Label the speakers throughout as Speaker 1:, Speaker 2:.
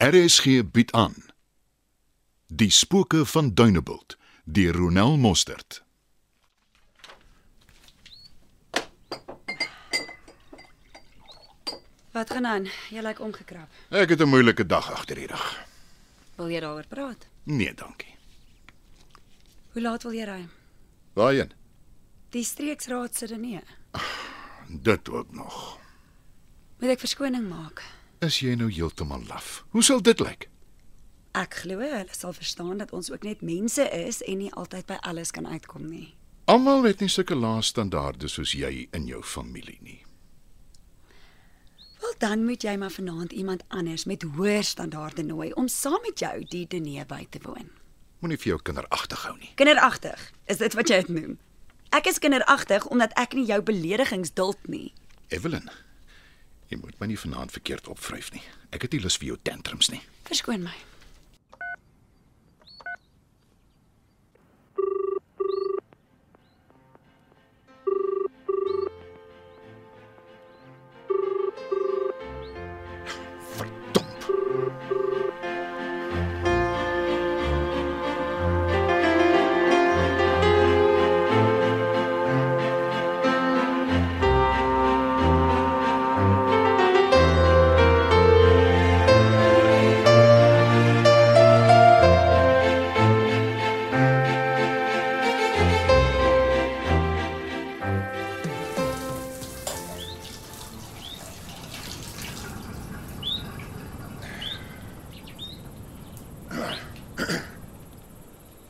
Speaker 1: RSG bied aan Die spooke van Dunebuld deur Ronel Mostert.
Speaker 2: Wat gaan aan? Jy lyk omgekrap.
Speaker 1: Ek het 'n moeilike dag agter die rug.
Speaker 2: Wil jy daaroor praat?
Speaker 1: Nee, dankie.
Speaker 2: Hoe laat wil jy ry?
Speaker 1: Waarheen?
Speaker 2: Die streeksraad se nee.
Speaker 1: Dit ook nog.
Speaker 2: Moet ek verskoning maak?
Speaker 1: Is jy nou heeltemal laf? Hoe sal dit lyk?
Speaker 2: Ek glo hulle sal verstaan dat ons ook net mense is en nie altyd by alles kan uitkom nie.
Speaker 1: Almal het nie sulke lae standaarde soos jy in jou familie nie.
Speaker 2: Wel dan moet jy maar vanaand iemand anders met hoër standaarde nooi om saam met jou die diner by te woon.
Speaker 1: Moenie vir jou kinderagtig hou nie.
Speaker 2: Kinderagtig, is dit wat jy dit noem? Ek is kinderagtig omdat ek nie jou beledigings duld nie.
Speaker 1: Evelyn, jy moet my nie vanaand verkeerd opvryf nie. Ek het nie lus vir jou tantrums nie.
Speaker 2: Verskoon my.
Speaker 1: Verdomp.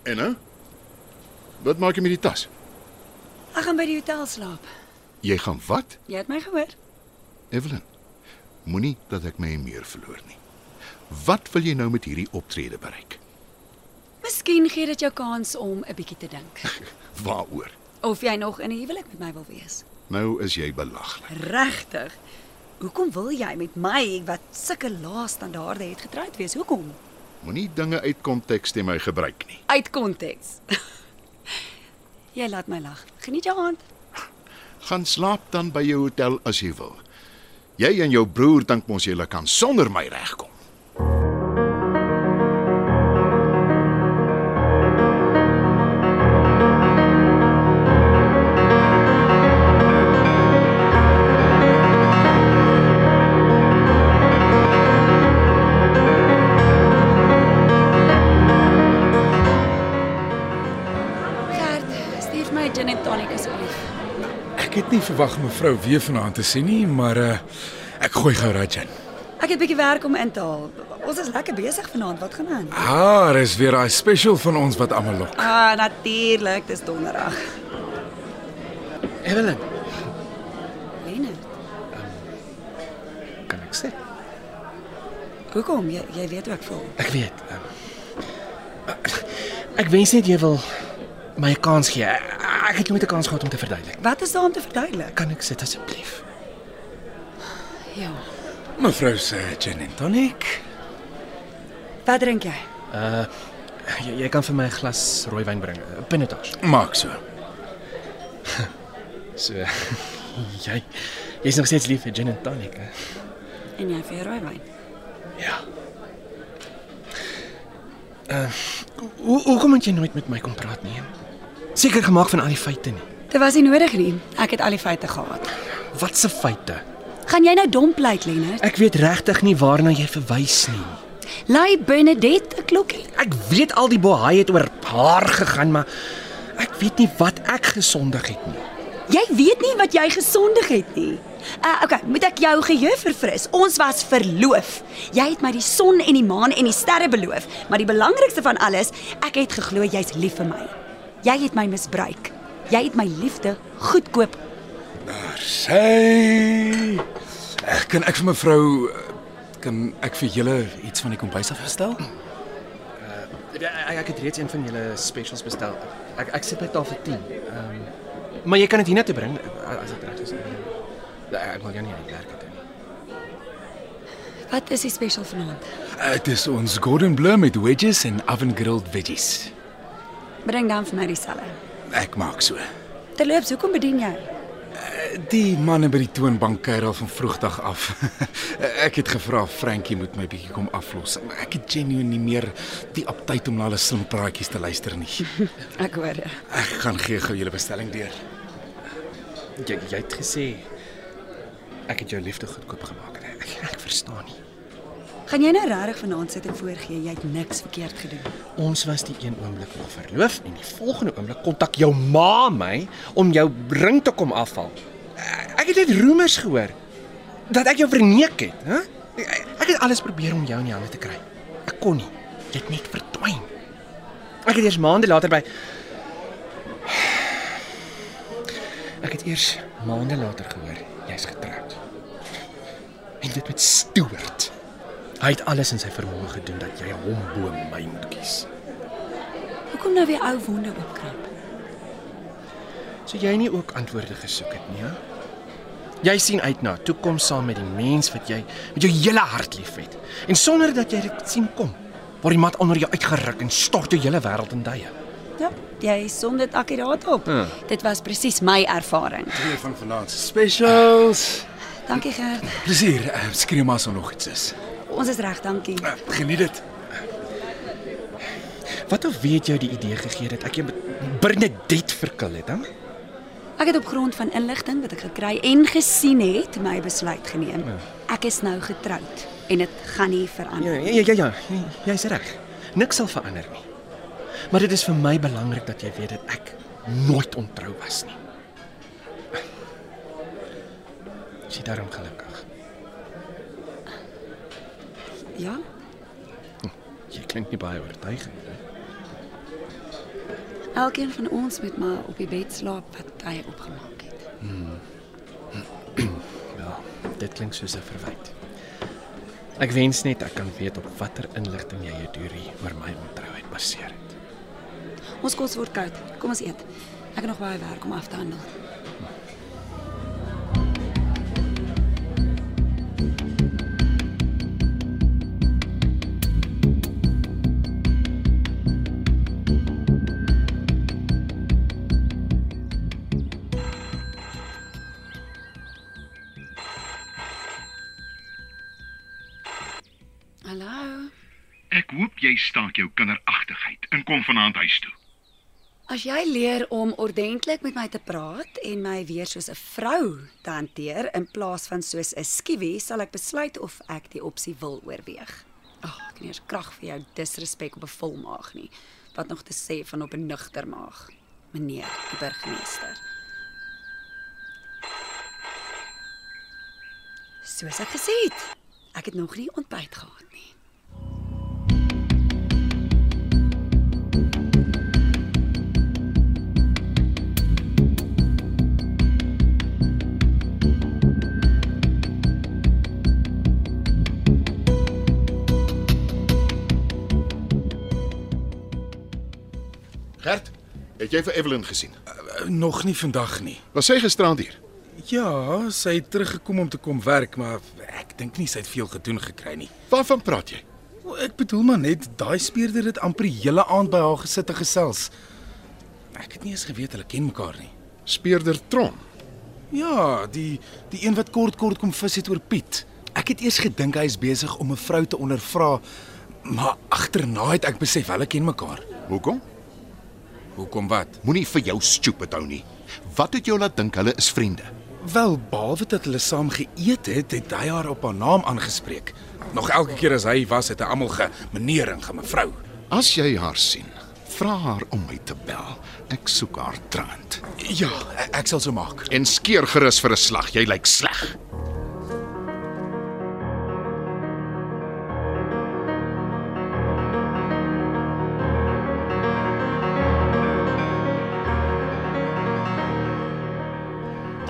Speaker 1: En hè? Wat maak jy met die tas?
Speaker 2: Ek gaan by die hotel slaap.
Speaker 1: Jy gaan wat?
Speaker 2: Jy het my gehoor?
Speaker 1: Evelyn, moenie dat ek my meer verloor nie. Wat wil jy nou met hierdie optrede bereik?
Speaker 2: Miskien gee dit jou kans om 'n bietjie te dink.
Speaker 1: Waaroor?
Speaker 2: Of jy nog in 'n huwelik met my wil wees?
Speaker 1: Nou is jy belaglik.
Speaker 2: Regtig? Hoekom wil jy met my wat sulke lae standaarde het getroud wees? Hoekom?
Speaker 1: Moenie dinge uit konteks teen my gebruik nie.
Speaker 2: Uit konteks. jy laat my lag. Geniet jou aand.
Speaker 1: Gaan slaap dan by jou hotel as jy wil. Jy en jou broer dink mos julle kan sonder my regkom.
Speaker 2: Gert, stuur my 'n gin en tonic asseblief.
Speaker 3: Ek het nie verwag mevrou weer vanaand te sien nie, maar uh, ek gooi gou Rajan.
Speaker 2: Ek het 'n bietjie werk om in te haal. Ons is lekker besig vanaand. Wat gaan aan?
Speaker 3: Haar is weer daai special van ons wat almal lok.
Speaker 2: Ah, natuurlik, dis donderdag.
Speaker 4: Evelyn,
Speaker 2: Lena,
Speaker 4: kan ek sê?
Speaker 2: hoekom jy jy weet hoe ek voel?
Speaker 4: Ek weet. Um, ek wens net jy wil my 'n kans gee. Ek het nooit 'n kans gehad om te verduidelik.
Speaker 2: Wat is daar om te verduidelik?
Speaker 4: Kan ek sit asseblief?
Speaker 2: Ja.
Speaker 3: Mevrou se gin en tonic.
Speaker 2: Wat drink jy?
Speaker 4: Uh jy, jy kan vir my 'n glas rooiwyn bring, 'n Pinotage.
Speaker 3: Maak so.
Speaker 4: So jy jy's nog steeds lief vir gin en tonic, hè?
Speaker 2: En jy vir rooiwyn.
Speaker 4: Ja. Uh hoe hoekom het jy nooit met my kom praat nie? Seker gemaak van al die feite nie.
Speaker 2: Dit was nie nodig nie. Ek het al die feite gehad.
Speaker 4: Wat se feite?
Speaker 2: Gaan jy nou dom pleit, Lennard?
Speaker 4: Ek weet regtig nie waarna jy verwys nie.
Speaker 2: Lei Benedette 'n klokkie.
Speaker 4: Ek weet al die bohaai het oor haar gegaan, maar ek weet nie wat ek gesondig het nie.
Speaker 2: Jy weet nie wat jy gesondig het nie. Uh okay, moet ek jou geheue verfris? Ons was verloof. Jy het my die son en die maan en die sterre beloof, maar die belangrikste van alles, ek het geglo jy's lief vir my. Jy het my misbruik. Jy het my liefde goedkoop.
Speaker 3: Daar sy. Ek kan ek vir mevrou eh, kan ek vir julle iets van die kombuis afstel?
Speaker 4: Eh, ja, Ek, ek het reeds een van julle specials bestel. Ek ek sit by tafel 10. Ehm um, maar jy kan dit hiernatoe bring eh, as dit reg is. Ja, Ek wil jou nie uitwerk het nie.
Speaker 2: Wat is die special vanaand?
Speaker 3: Dit is "Eh, ons Gordon Blue met wedges en oven-grilled veggies.
Speaker 2: Bring dan vir my dieselfde.
Speaker 3: Ek maak so.
Speaker 2: Terloops, hoekom bedien jy?
Speaker 3: Die manne by die toonbank kuier al van vroegdag af. ek het gevra Frankie moet my bietjie kom aflos. maar Ek het genuine nie meer die aptyd om na hulle slim praatjies te luister nie.
Speaker 2: Ek hoor.
Speaker 3: Ek gaan gee gou julle bestelling deur.
Speaker 4: Jy jy het gesê ek het jou liefde goedkoop gemaak en ek, ek verstaan nie.
Speaker 2: Gaan jy nou regtig vanaand sit en voorgee jy het niks verkeerd gedoen?
Speaker 4: Ons was die een oomblik nog verloof en die volgende oomblik kontak jou ma my om jou ring te kom afhaal. Ek het net roemers gehoor dat ek jou verneek het, hè? Ek het alles probeer om jou in die hande te kry. Ek kon nie. Jy het net verdwyn. Ek het eers maande later by Ek het eers maande later gehoor jy's getroud. En dit met Stewart. Hy het alles in sy vermoë gedoen dat jy hom bo my moet kies.
Speaker 2: Hoekom nou weer ou wonde oopkrap?
Speaker 4: So jy nie ook antwoorde gesoek het nie, ja? Jy sien uit na 'n toekoms saam met die mens wat jy met jou hele hart liefhet en sonder dat jy dit sien kom, word die mat onder jou uitgeruk en stort jou hele wêreld in duie.
Speaker 2: Ja, jy som dit akuraat op.
Speaker 4: Ja.
Speaker 2: Dit was presies my ervaring.
Speaker 3: Twee van vanaand se specials.
Speaker 2: Dankie Gert.
Speaker 3: Plezier. eh, Skree maar so nog iets is.
Speaker 2: Ons is reg, dankie.
Speaker 3: Eh, Geniet dit.
Speaker 4: Wat of weet jou die idee gegee dat ek jou Bernadette verkil het, hè?
Speaker 2: Ek het op grond van inligting wat ek gekry en gesien het, my besluit geneem. Ek is nou getroud en dit gaan nie
Speaker 4: Ja,
Speaker 2: verander.
Speaker 4: ja, ja, ja, ja. jy- jy's reg. Niks sal verander nie. Maar dit is vir my belangrik dat jy weet dat ek nooit ontrou was nie. Is jy daarom gelukkig?
Speaker 2: Ja?
Speaker 4: Jy klink nie baie oortuigend nie.
Speaker 2: Elkeen van ons moet maar op die bed slaap wat hy opgemaak het.
Speaker 4: Ja, dit klink soos 'n verwyt. Ek wens net ek kan weet op watter inligting jy jou teorie oor my ontrouheid baseer het.
Speaker 2: Ons kos word koud. Kom ons eet. Ek het nog baie werk om af te handel. Hallo.
Speaker 1: Ek hoop jy staak jou kinderagtigheid en kom vanaand huis toe.
Speaker 2: As jy leer om ordentlik met my te praat en my weer soos 'n vrou te hanteer in plaas van soos 'n skiewie, sal ek besluit of ek die opsie wil oorweeg. Ag, ek het nie eens krag vir jou disrespek op 'n volmaag nie. Wat nog te sê van op 'n nugter maag, meneer die burgemeester. Soos ek gesê het, ek het nog nie ontbyt gehad nie.
Speaker 1: Gert, het jy vir Evelyn gesien?
Speaker 3: Eh, Nog nie vandag nie.
Speaker 1: Was sy gisterand hier?
Speaker 3: Ja, sy het teruggekom om te kom werk, maar ek dink nie sy het veel gedoen gekry nie.
Speaker 1: Waarvan praat jy?
Speaker 3: Wel, Ek bedoel maar net daai speerder het amper die hele aand by haar gesit en gesels. Ek het nie eens geweet hulle ken mekaar nie.
Speaker 1: Speerder Tron.
Speaker 3: Ja, die die een wat kort kort kom vis het oor Piet. Ek het eers gedink hy is besig om 'n vrou te ondervra, maar agterna het ek besef hulle ken mekaar.
Speaker 1: Hoekom?
Speaker 3: Hoekom wat?
Speaker 1: Moenie vir jou stupid hou nie. Wat het jou laat dink hulle is vriende?
Speaker 3: Wel, behalwe dat hulle saam geëet het, het hy haar op haar naam aangespreek. Nog elke keer as hy was, het hy almal ge meneer en ge mevrou.
Speaker 1: As jy haar sien, vra haar om my te bel. Ek soek haar trant.
Speaker 3: Ja, e- ek sal so maak.
Speaker 1: En skeer gerus vir 'n slag. Jy lyk sleg.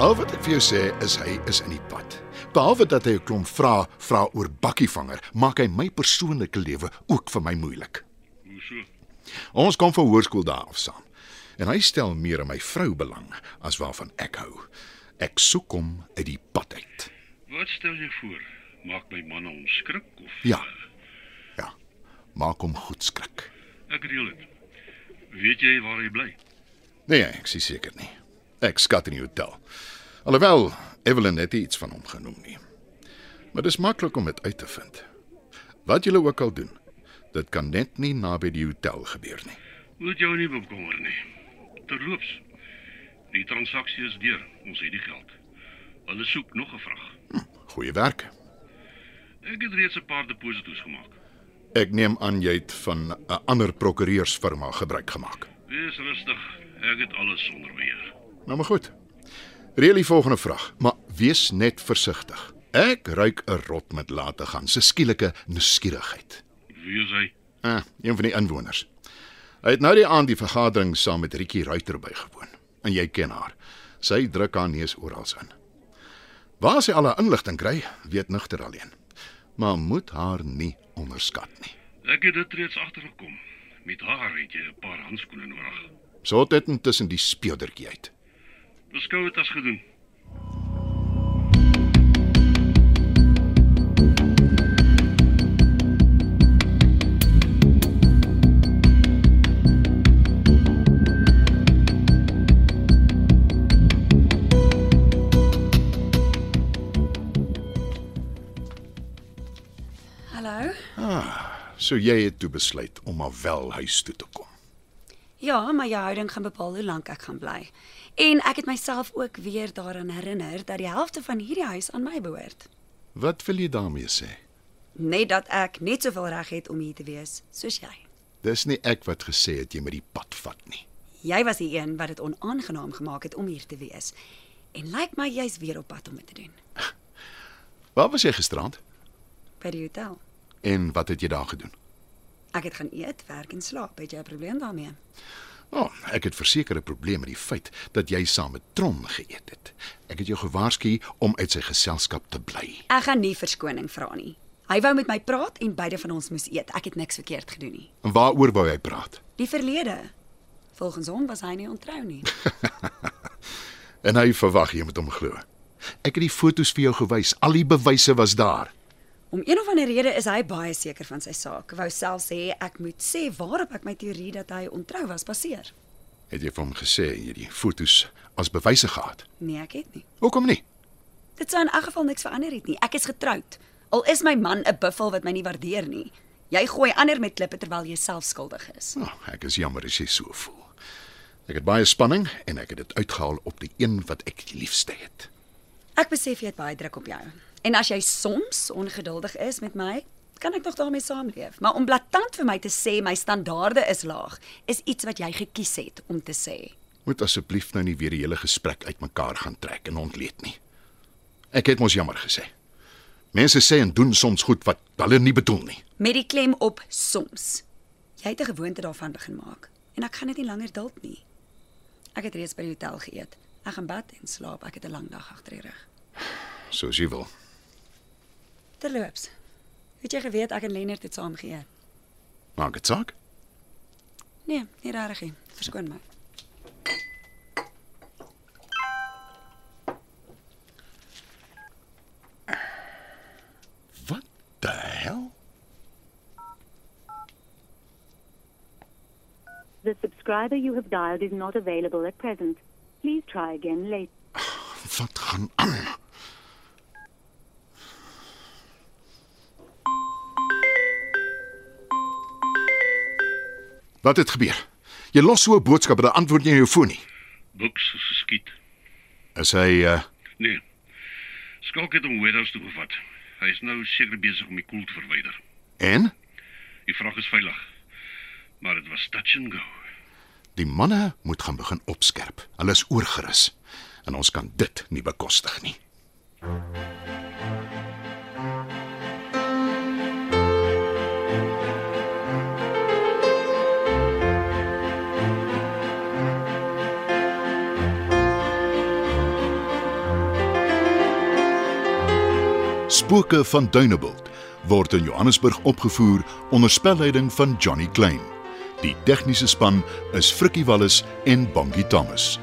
Speaker 1: Al wat ek vir jou sê is hy is in die pad. Behalwe dat hy 'n klomp vra vra oor bakkievanger, maak hy my persoonlike lewe ook vir my moeilik. Ons kom van hoërskool daar af saam. En hy stel meer in my vrou belang as waarvan ek hou. Ek soek hom uit die pad uit.
Speaker 5: Wat stel jy voor? Maak my manne omskrik of
Speaker 1: Ja. Ja. Maak hom goed skrik.
Speaker 5: ek reël dit. Weet jy waar hy bly?
Speaker 1: Nee, ek is seker nie. Ek skat in die hotel. Alhoewel Evelyn net nie iets van hom genoem nie. Maar dis maklik om dit uit te vind. Wat julle ook al doen, dit kan net nie naby die hotel gebeur nie.
Speaker 5: Moet jou nie bekommer nie. nee? Terloops, die transaksie is deur. Ons het die geld. Hulle soek nog 'n vrag.
Speaker 1: Goeie werk.
Speaker 5: Ek het reeds 'n paar deposito's gemaak.
Speaker 1: Ek neem aan jy het van 'n ander prokureursfirma gebruik gemaak.
Speaker 5: Wees rustig. Ek het alles onder beheer.
Speaker 1: Nou maar goed. Reël die volgende vraag, maar wees net versigtig. Ek ruik 'n rot met laat te gaan, se skielike nuuskierigheid.
Speaker 5: Wie is hy?
Speaker 1: Ah, een van die inwoners. Hy het nou die aand die vergadering saam met Rietjie Ruiter bygewoon. En jy ken haar. Sy druk haar neus oral in. Waar sy al haar inligting kry, weet nigter alleen. Maar moet haar nie onderskat nie.
Speaker 5: Ek het dit reeds agtergekom. Met haar het jy 'n paar handskoene nodig.
Speaker 1: Sort dit intussen die speeldertjie uit.
Speaker 5: Beskou dit as gedoen.
Speaker 2: Hallo?
Speaker 1: So jy het toe besluit om maar wel huis toe te kom.
Speaker 2: Ja, maar jou houding gaan bepaal hoe lank ek gaan bly. En ek het myself ook weer daaraan herinner dat die helfte van hierdie huis aan my behoort.
Speaker 1: Wat wil jy daarmee sê?
Speaker 2: Net dat ek net soveel reg het om hier te wees soos jy.
Speaker 1: Dis nie ek wat gesê het jy met die pad vat nie.
Speaker 2: Jy was die een wat dit onaangenaam gemaak het om hier te wees. En lyk my jy's weer op pad om dit te doen
Speaker 1: Waar was jy gisterand
Speaker 2: by die hotel.
Speaker 1: en wat het jy daar gedoen?
Speaker 2: Ek het gaan eet, werk en slaap. Het jy 'n probleem daarmee?
Speaker 1: O, oh, ek het versekerde probleme met die feit dat jy saam met Tron geëet het. Ek het jou gewaarsku om uit sy geselskap te bly.
Speaker 2: Ek gaan nie verskoning vra nie. Hy wou met my praat en beide van ons moes eet. Ek het niks verkeerd gedoen nie.
Speaker 1: En waaroor wou hy praat?
Speaker 2: Die verlede. Volgens hom was hy nie ontrou nie.
Speaker 1: En hy verwag jy moet hom glo. Ek het die fotos vir jou gewys. Al die bewyse was daar.
Speaker 2: Om een of ander rede is hy baie seker van sy saak. Wou self sê ek moet sê waarop ek my teorie dat hy ontrou was baseer.
Speaker 1: Het jy vir hom gesê jy het die fotos as bewyse gehad?
Speaker 2: Nee, ek het nie.
Speaker 1: Hoekom nie?
Speaker 2: Dit sou in elk geval niks verander het nie. Ek is getroud. Al is my man 'n buffel wat my nie waardeer nie. Jy gooi ander met klippe terwyl jy self skuldig is.
Speaker 1: Nou, ek is jammer as jy so voel. Ek het baie spanning en ek het dit uitgehaal op die een wat ek die liefste het.
Speaker 2: Ek besef jy het baie druk op jou. En as jy soms ongeduldig is met my, kan ek nog daarmee saamleef. Maar om blaatant vir my te sê my standaarde is laag, is iets wat jy gekies het om te sê.
Speaker 1: Moet asseblief nou nie weer die hele gesprek uitmekaar gaan trek en ontleed nie. Ek het mos jammer gesê. Mense sê en doen soms goed wat hulle nie bedoel nie.
Speaker 2: Met die klem op soms. Jy het 'n gewoonte daarvan begin maak en ek gaan dit nie langer duld nie. Ek het reeds by die hotel geëet. Ek gaan bed en slaap. Ek het 'n lang dag agter die rug.
Speaker 1: Soos jy wil.
Speaker 2: Terloops. Het jy geweet ek en Lennard het saam geëet?
Speaker 1: Maak dit saak.
Speaker 2: Nee, nie regtig nie. Verskoon my.
Speaker 1: Wat die hel?
Speaker 6: The subscriber you have dialed is not available at present. Please try again later.
Speaker 1: Wat gaan aan? Wat het gebeur? Jy los so 'n boodskap en dan antwoord nie op jou foon nie.
Speaker 5: Buks is geskiet.
Speaker 1: Is hy uh
Speaker 5: Nee. Skalk het hom Wedders toe gevat. Hy is nou seker besig om die koel te verwyder.
Speaker 1: en
Speaker 5: Die vrag is veilig. Maar dit was touch and go.
Speaker 1: die manne moet gaan begin opskerp. Hulle is oorgerus en ons kan dit nie bekostig nie. Spooke van Duneveld word in Johannesburg opgevoer onder spelleiding van Johnny Klein. Die tegniese span is Frikkie Wallis en Bongie Thomas.